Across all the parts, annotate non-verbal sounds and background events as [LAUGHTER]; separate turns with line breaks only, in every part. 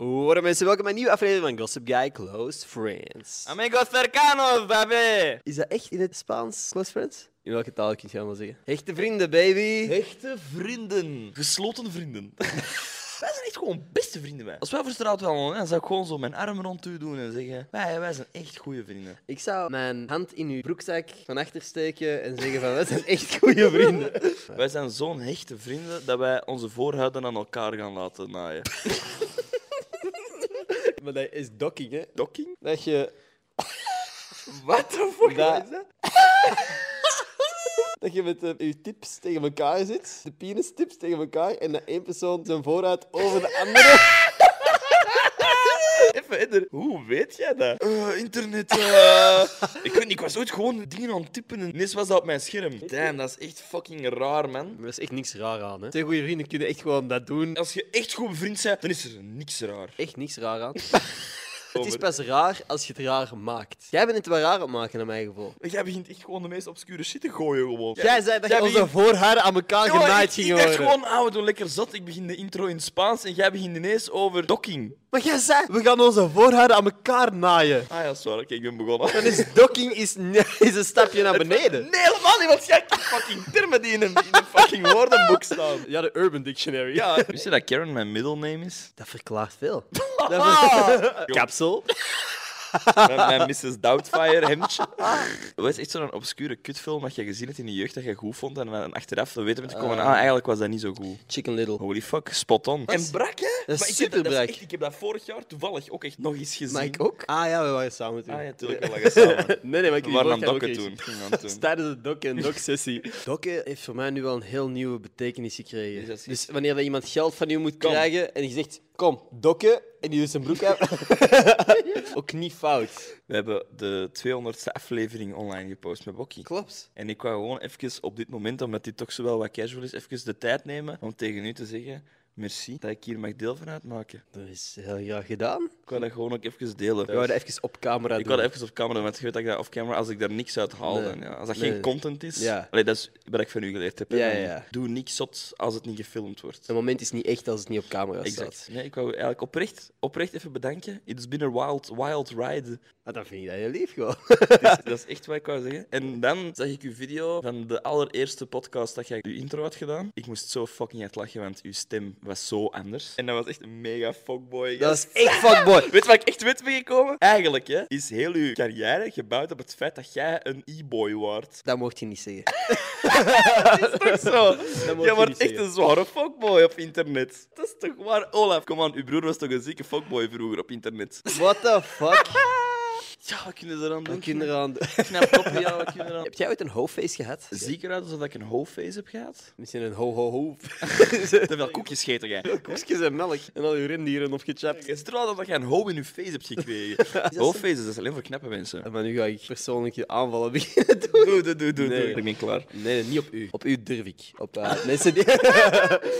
Goedemorgen mensen, welkom bij een nieuwe aflevering van Gossip Guy Close Friends.
Amigos cercanos, baby!
Is dat echt in het Spaans, Close Friends? In welke taal kun je allemaal zeggen? Hechte vrienden, baby.
Echte vrienden. Gesloten vrienden. [LAUGHS] wij zijn echt gewoon beste vrienden, wij. Als wij voor straat wandelen, hè, dan zou ik gewoon zo mijn armen rond u doen en zeggen... Wij, wij zijn echt goede vrienden.
Ik zou mijn hand in uw broekzak van achter steken en zeggen van, wij zijn [LAUGHS] echt goede vrienden.
Wij zijn zo'n hechte vrienden dat wij onze voorhuiden aan elkaar gaan laten [LAUGHS] naaien.
maar dat is docking, hè?
Dokking?
Dat je,
What the fuck
dat, [LAUGHS] dat je met eh, je tips tegen elkaar zit, de penistips tegen elkaar, en dat één persoon zijn vooruit over de andere...
Even verder. Hoe weet jij dat? Eh, internet. eh. [LAUGHS] ik weet niet, ik was ooit gewoon dingen aan het typen en ineens was dat op mijn scherm. Damn, dat is echt fucking raar, man.
Er is echt niks raar aan, hè? Twee goede vrienden kunnen echt gewoon dat doen.
Als je echt goed bevriend bent, dan is er niks raar.
Echt niks raar [LAUGHS] aan. Het is pas raar als je het raar maakt. Jij bent het wel raar op maken, naar mijn gevoel.
Jij begint echt gewoon de meest obscure shit te gooien, gewoon.
Jij zei dat
Jij
je onze
begint-
voorharen aan elkaar
Jongen,
genaaid
ik-
ging
ik dacht
worden.
gewoon, ah, we doen lekker zat. Ik begin de intro in Spaans en jij begint ineens over docking.
Maar jij zei, we gaan onze voorharen aan elkaar naaien.
Ah ja, dat is waar. Oké, ik ben begonnen.
Dan
[LAUGHS]
is docking is, ne- is een stapje naar beneden.
Nee, helemaal niet, want jij hebt fucking termen die in een, in een fucking woordenboek staan.
Ja, de Urban Dictionary.
Ja. Wist je dat Karen mijn middelname is?
[LAUGHS] Dat verklaart
[LAUGHS]
veel. Dat
Ah!
ver- Kapsel.
Met mijn Mrs. Doubtfire hemdje. Dat is echt zo'n obscure kutfilm dat je gezien hebt in je jeugd dat je goed vond. En dan achteraf weten we te komen, ah, eigenlijk was dat niet zo goed.
Chicken Little.
Holy fuck, spot on. En brak, hè?
Dat is
Maar ik heb
superbrak.
dat is echt- Ik heb dat vorig jaar toevallig ook echt nog eens gezien.
Maar ik ook? Ah ja, we waren samen toen.
Ah, ja, tuurlijk, we lagen samen.
[LAUGHS] Nee, nee, maar ik
We
heb
waren
die
aan het
vorige
dokken
[LAUGHS] keer ook
toen.
eens-
Ging aan
Dat is
het doen.
tijdens de dokken en doksessie. Dokken heeft voor mij nu wel een heel nieuwe betekenis gekregen.
Is dat zo?
Dus wanneer dat iemand geld van u moet
Kom.
krijgen en je zegt, kom, dokken, en die doet zijn broek uit. [LAUGHS] Ook niet fout.
We hebben de 200ste aflevering online gepost met Bokkie.
Klopt.
En ik wou gewoon even op dit moment, omdat dit toch zo wel wat casual is, even de tijd nemen om tegen u te zeggen... Merci dat ik hier mag deel van uitmaken.
Dat is heel graag gedaan.
Ik wou dat gewoon ook even delen.
We wouden even op camera
Ik
doen.
had even op camera, want je weet dat ik dat off-camera, als ik daar niks uit haal,
Nee.
dan, ja, als dat
Nee.
geen content is,
Ja.
allee, dat is wat ik van u geleerd heb. hè,
Ja,
van,
ja.
Doe niks zot als het niet gefilmd wordt.
Het moment is niet echt als het niet op camera
Exact.
staat.
Nee, ik wou u eigenlijk oprecht, oprecht even bedanken. Het is binnen Wild, wild Ride. [LAUGHS]
Ah, dan vind ik dat heel lief gewoon.
Dus dat is echt wat ik wou zeggen. En dan zag ik uw video van de allereerste podcast dat jij uw intro had gedaan. Ik moest zo fucking uitlachen, want uw stem was zo anders. En dat was echt een mega fuckboy.
Dat
gast.
is [LAUGHS] echt fuckboy.
Weet je waar ik echt weet ben gekomen? Eigenlijk hè, is heel uw carrière gebouwd op het feit dat jij een e-boy wordt. [LAUGHS]
Dat mocht je niet zeggen.
Dat is toch zo?
Dat mocht
Jij
je
wordt
niet
echt
zeggen.
een zware fuckboy op internet. Dat is toch waar, Olaf? Kom aan, uw broer was toch een zieke fuckboy vroeger op internet? [LAUGHS]
What the fuck? [LAUGHS]
Ja, wat kunnen ze eraan doen?
Wat kinderen aan doen? [LAUGHS]
Knap koppen, ja, wat kunnen ze eraan [LAUGHS]
Heb jij ooit een hoofdfeest gehad?
Zie ik eruit alsof ik een hoofdface heb gehad?
Misschien een [LAUGHS] ho-ho-ho.
Te veel koekjes gegeten jij.
Koekjes en melk. En al je rendieren opgechapt.
Je ziet eruit alsof je een hoop in je face hebt [LAUGHS] gekregen. Hoofdfaces, dat is alleen voor knappe [LAUGHS] mensen.
Maar nu ga ik persoonlijke aanvallen beginnen doen.
Doe, doe, doe, doe.
Nee.
doe. Ik ben klaar.
Nee, nee, niet op u. Op u durf ik. Op [LAUGHS] eh, mensen die...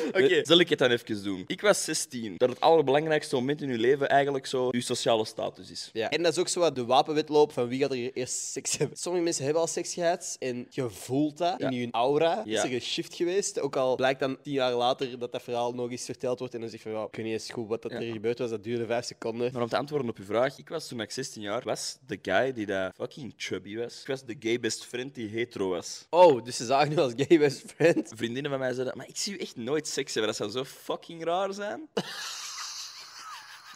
Oké, Eh, zal ik het dan even doen? Ik was 16. Dat het allerbelangrijkste moment in je leven eigenlijk zo je sociale status is.
Ja. En dat is ook zo wat de wapenwitloop van wie gaat er eerst seks hebben. Sommige mensen hebben al seks gehad en je voelt dat in hun aura.
Ja.
Is er een shift geweest? Ook al blijkt dan tien jaar later dat dat verhaal nog eens verteld wordt en dan zeg je van, ja, ik weet niet eens goed wat dat er gebeurd was. Dat duurde vijf seconden.
Maar om te antwoorden op uw vraag, ik was toen ik 16 jaar was de guy die dat fucking chubby was. Ik was de gay best friend die hetero was.
Oh, dus ze zagen nu als gay best friend.
Vriendinnen van mij zeiden, maar ik zie u echt nooit seks hebben, dat zou zo fucking raar zijn.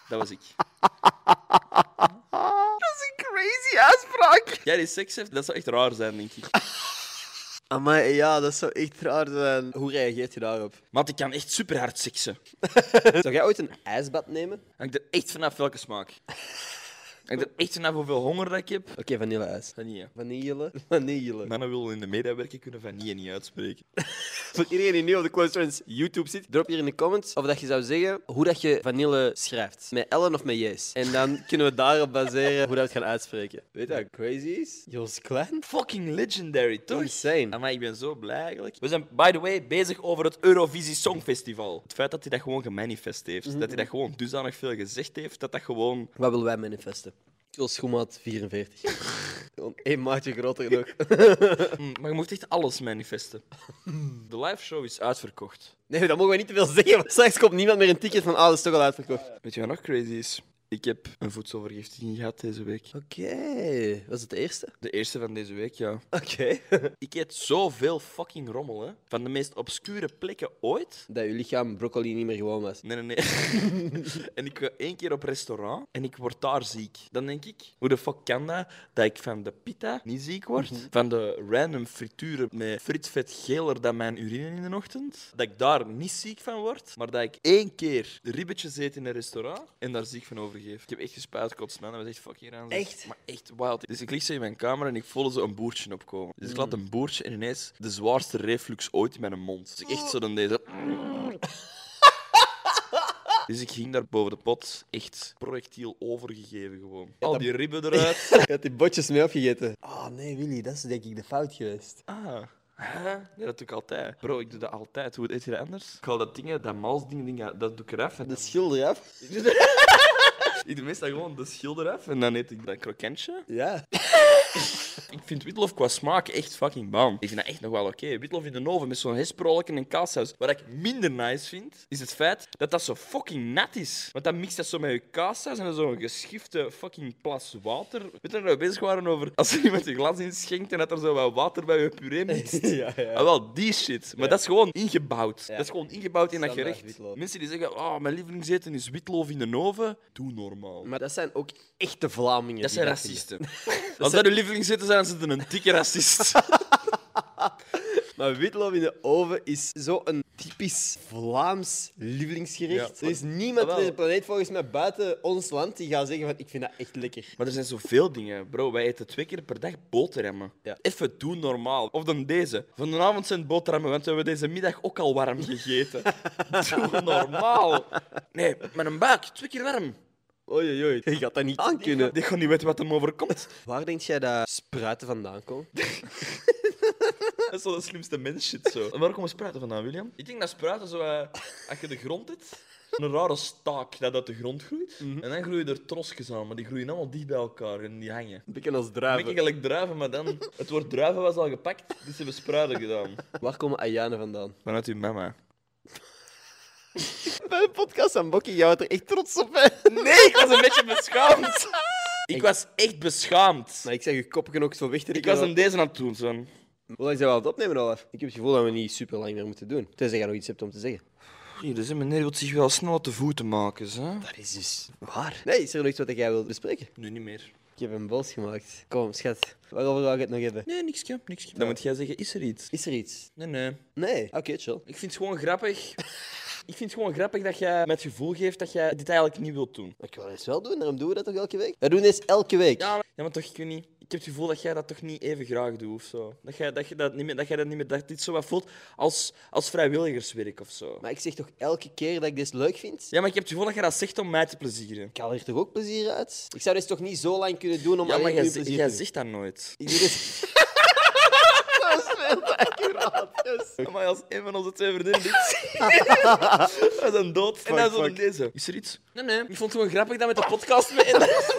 Dat was ik.
[LAUGHS] Dat is een crazy uitspraak.
Jij die seks heeft, dat zou echt raar zijn, denk ik.
Amai, ja, dat zou echt raar zijn. Hoe reageert je daarop? [LAUGHS]
Want ik kan echt super hard seksen.
Zou jij ooit een ijsbad nemen?
Hangt er echt vanaf welke smaak. Hangt er echt vanaf hoeveel honger dat ik heb.
Oké, vanille-ijs.
Vanille.
Vanille. [LAUGHS] Vanille.
Mannen willen in de media werken, kunnen vanille niet uitspreken.
Voor iedereen die nu op de Close Friends YouTube zit, drop hier in de comments of dat je zou zeggen hoe dat je vanille schrijft. Met Ellen of met J's. En dan [LAUGHS] kunnen we daarop baseren hoe dat we het gaan uitspreken. Weet je wat crazy is? Jos Klein?
Fucking legendary, toch?
Insane.
Maar ik ben zo blij eigenlijk. We zijn, by the way, bezig over het Eurovisie Songfestival. Het feit dat hij dat gewoon gemanifest heeft. Dat hij dat gewoon dusdanig veel gezegd heeft, dat dat
[LAUGHS]
gewoon...
Wat willen wij manifesten? Ik wil schoenmaat 44. Eén maatje groter nog.
Mm, Maar je moet echt alles manifesten. De live show is
[LAUGHS]
uitverkocht.
Nee, dat mogen we niet te veel zeggen. Want straks komt niemand meer een ticket van alles toch al uitverkocht.
Weet je wat nog crazy is? Ik heb een voedselvergiftiging gehad deze week.
Oké, was het de eerste?
De eerste van deze week, ja.
Oké.
Ik eet zoveel fucking rommel, hè. Van de meest obscure plekken ooit.
[LAUGHS] Dat je lichaam broccoli niet meer gewoon [LAUGHS] was.
Nee, nee, nee. en ik ga één keer op restaurant en ik word daar ziek. Dan denk ik, hoe de fuck kan dat dat ik van de pita niet ziek word? Van de random frituren met fritvet geler dan mijn urine in de ochtend? Dat ik daar niet ziek van word, maar dat ik één keer ribbetjes eet in een restaurant en daar ziek van overgeef. Ik heb echt gespuit, kotst, man. Dat was echt fucking raar.
Echt?
Maar echt wild. Dus ik lig zo in mijn kamer en ik voelde zo een boertje opkomen. Dus ik laat een boertje en ineens de zwaarste reflux ooit in mijn mond. Dus ik echt zo dan deze... Dus ik ging daar boven de pot echt projectiel overgegeven gewoon. Al die ribben [LAUGHS] eruit.
Je had die botjes mee opgegeten. Oh nee, Willy, dat is denk ik de fout geweest.
Ah. Huh? Nee, dat doe ik altijd. Bro, ik doe dat altijd. Hoe eet je dat anders? Ik haal dat ding, dat malsding, ding, dat doe ik eraf. En
De
dat...
schilder af?
Ik doe meestal gewoon de schilder af en dan eet ik dat krokantje.
Ja. [LAUGHS]
Ik vind witlof qua smaak echt fucking bam. Ik vind dat echt nog wel oké. Witlof in de oven met zo'n hesprolken en kaassaus. Wat ik minder nice vind, is het feit dat dat zo fucking nat is. Want dan mixt dat zo met je kaassaus en dan zo'n geschifte fucking plas water. Weet je dat we nou bezig waren over als er iemand je glas inschenkt en dat er zo wat water bij je puree
[LAUGHS]
mixt?
ja, ja.
Ah, wel, die shit. Maar dat is gewoon ingebouwd. Dat is gewoon ingebouwd in dat
Standaard
gerecht.
witlof.
Mensen die zeggen, oh, mijn lievelingseten is witloof in de oven. Doe normaal.
Maar dat zijn ook echte Vlamingen.
Dat
die
zijn
vinden.
racisten. [LAUGHS] Als dat uw lievelingseten zijn, dan zitten een dikke racist.
Maar witloof in de oven is zo'n typisch Vlaams lievelingsgerecht.
Ja.
er is niemand
Jawel.
op deze planeet, volgens mij buiten ons land, die gaat zeggen van ik vind dat echt lekker.
Maar er zijn zoveel dingen, bro. Wij eten twee keer per dag boterhammen.
Ja.
Even doen normaal. Of dan deze. Vanavond zijn het boterhammen, want we hebben deze middag ook al warm [LAUGHS] gegeten. Doe normaal. Nee, met een buik. Twee keer warm.
Oei, oei, oei. Je gaat dat niet aankunnen.
Die gaat niet weten wat hem overkomt.
Waar denk jij dat spruiten vandaan komen?
Dat is wel de slimste mens shit zo. En waar komen spruiten vandaan, William? Ik denk dat spruiten zo, eh, als je de grond hebt, een rare staak dat uit de grond groeit. En dan groeien er trosjes aan, maar die groeien allemaal dicht bij elkaar en die hangen.
[LAUGHS] Een beetje als
Dan ben ik
druiven.
eigenlijk druiven, maar dan... Het woord druiven was al gepakt, dus ze hebben spruiten gedaan.
Waar komen Ayane vandaan?
Vanuit uw mama.
[LAUGHS] Bij een podcast aan Bokkie, jij wordt er echt trots op. [LAUGHS] Hè?
Nee, ik was een beetje beschaamd. Ik was echt beschaamd.
Maar ik zeg je kop genoeg zo weg te
Ik
trekken.
was een deze aan het doen, zo'n...
Hoe lang zijn we aan het opnemen, Olaf? Ik heb het gevoel dat we niet super lang meer moeten doen. Tenzij jij nog iets hebt om te zeggen.
Hier, deze meneer wil zich wel snel te voeten maken, hè?
Dat is dus waar. Nee, is er nog iets wat jij wilt bespreken?
Nu niet meer.
Ik heb een bos gemaakt. Kom, schat. Waarover wou ik het nog hebben?
Nee, niksje, niksje. Dan moet jij zeggen, is er iets?
Is er iets?
Nee, nee.
Nee. Oké, chill.
Ik vind het gewoon grappig. Ik vind het gewoon grappig dat jij met gevoel geeft dat jij dit eigenlijk niet wilt doen.
Maar ik wil eens wel doen, daarom doen we dat toch elke week? We doen dit elke week.
Ja, maar, ja, maar toch, ik weet niet. Ik heb het gevoel dat jij dat toch niet even graag doet of zo. Dat jij dat, je dat, niet, meer, dat, jij dat niet meer, dat dit zo wat voelt als, als vrijwilligerswerk of zo.
Maar ik zeg toch elke keer dat ik dit leuk vind?
Ja, maar ik heb het gevoel dat jij dat zegt om mij te plezieren.
Ik haal hier toch ook plezier uit? Ik zou dit toch niet zo lang kunnen doen om
Ja, maar
alleen
jij,
uw
z-
plezier
jij
te doen?
zegt dat nooit.
Ik doe dit...
Maar als een van onze twee vriendinnen [LAUGHS] dit dat is een dood. en dan
Fuck,
zo
fuck.
met deze. Is er iets? Nee, nee. Ik vond het gewoon grappig dat met de podcast mee.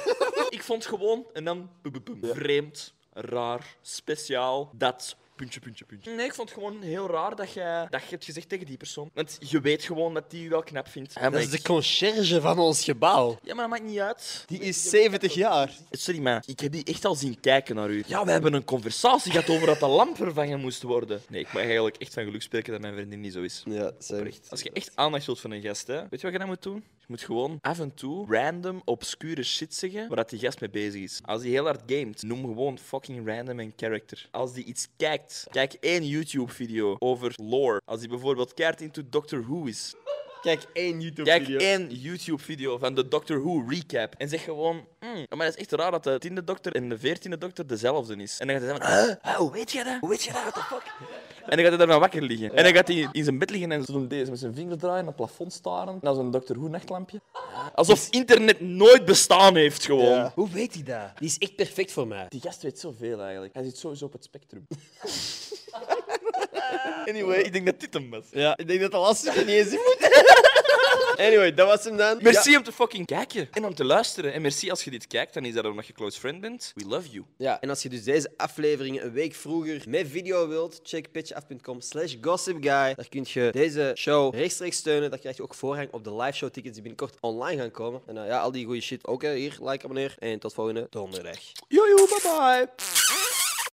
[LAUGHS] ik vond het gewoon, en dan boem, boem, boem. vreemd, raar, speciaal, dat. Puntje, puntje, puntje. Nee, ik vond het gewoon heel raar dat jij dat je het gezegd tegen die persoon. Want je weet gewoon dat die je wel knap vindt. [LAUGHS] Ja, maar,
Dat is de concierge van ons gebouw.
ja, maar dat maakt niet uit.
Die is 70 jaar.
Sorry, maar ik heb die echt al zien kijken naar u. Ja, we hebben een conversatie gehad over dat de lamp vervangen moest worden. Nee, ik mag eigenlijk echt van geluk spreken dat mijn vriendin niet zo is.
Ja, sorry.
Als je echt aandacht wilt van een gast, hè, weet je wat je dan moet doen? Je moet gewoon af en toe random, obscure shit zeggen waar dat die gast mee bezig is. Als die heel hard gamet, noem gewoon fucking random een character. Als die iets kijkt, kijk één YouTube-video over lore. Als die bijvoorbeeld keert into Doctor Who is,
Kijk één YouTube-video.
Kijk één YouTube-video van de Doctor Who recap. En zeg gewoon, "Mm, maar dat is echt raar dat de tiende dokter en de veertiende dokter dezelfde is. En dan gaat hij zeggen, "Huh? Huh? Ah, hoe weet jij dat? Hoe weet jij dat? What the fuck? En dan gaat hij daarna wakker liggen. En dan gaat hij in zijn bed liggen en zo doen deze met zijn vinger draaien, naar het plafond staren, naar zo'n Doctor Who nachtlampje. Alsof internet nooit bestaan heeft gewoon.
Ja. Hoe weet hij dat? Die is echt perfect voor mij.
Die gast weet zoveel eigenlijk. Hij zit sowieso op het spectrum. [LAUGHS] anyway, ik denk dat dit hem was.
Ja, ik denk dat de laatste niet eens in moet. Anyway, dat was hem dan.
Merci om te fucking kijken en om te luisteren. En merci als je dit kijkt, dan is dat omdat je close friend bent. We love you.
Ja, en als je dus deze aflevering een week vroeger met video wilt, check pitchaf.com slash gossipguy. Daar kun je deze show rechtstreeks steunen. Daar krijg je ook voorrang op de live show tickets die binnenkort online gaan komen. En eh, ja, al die goede shit ook hè. hier. Like, abonneer en tot volgende donderdag.
Jojo, bye bye.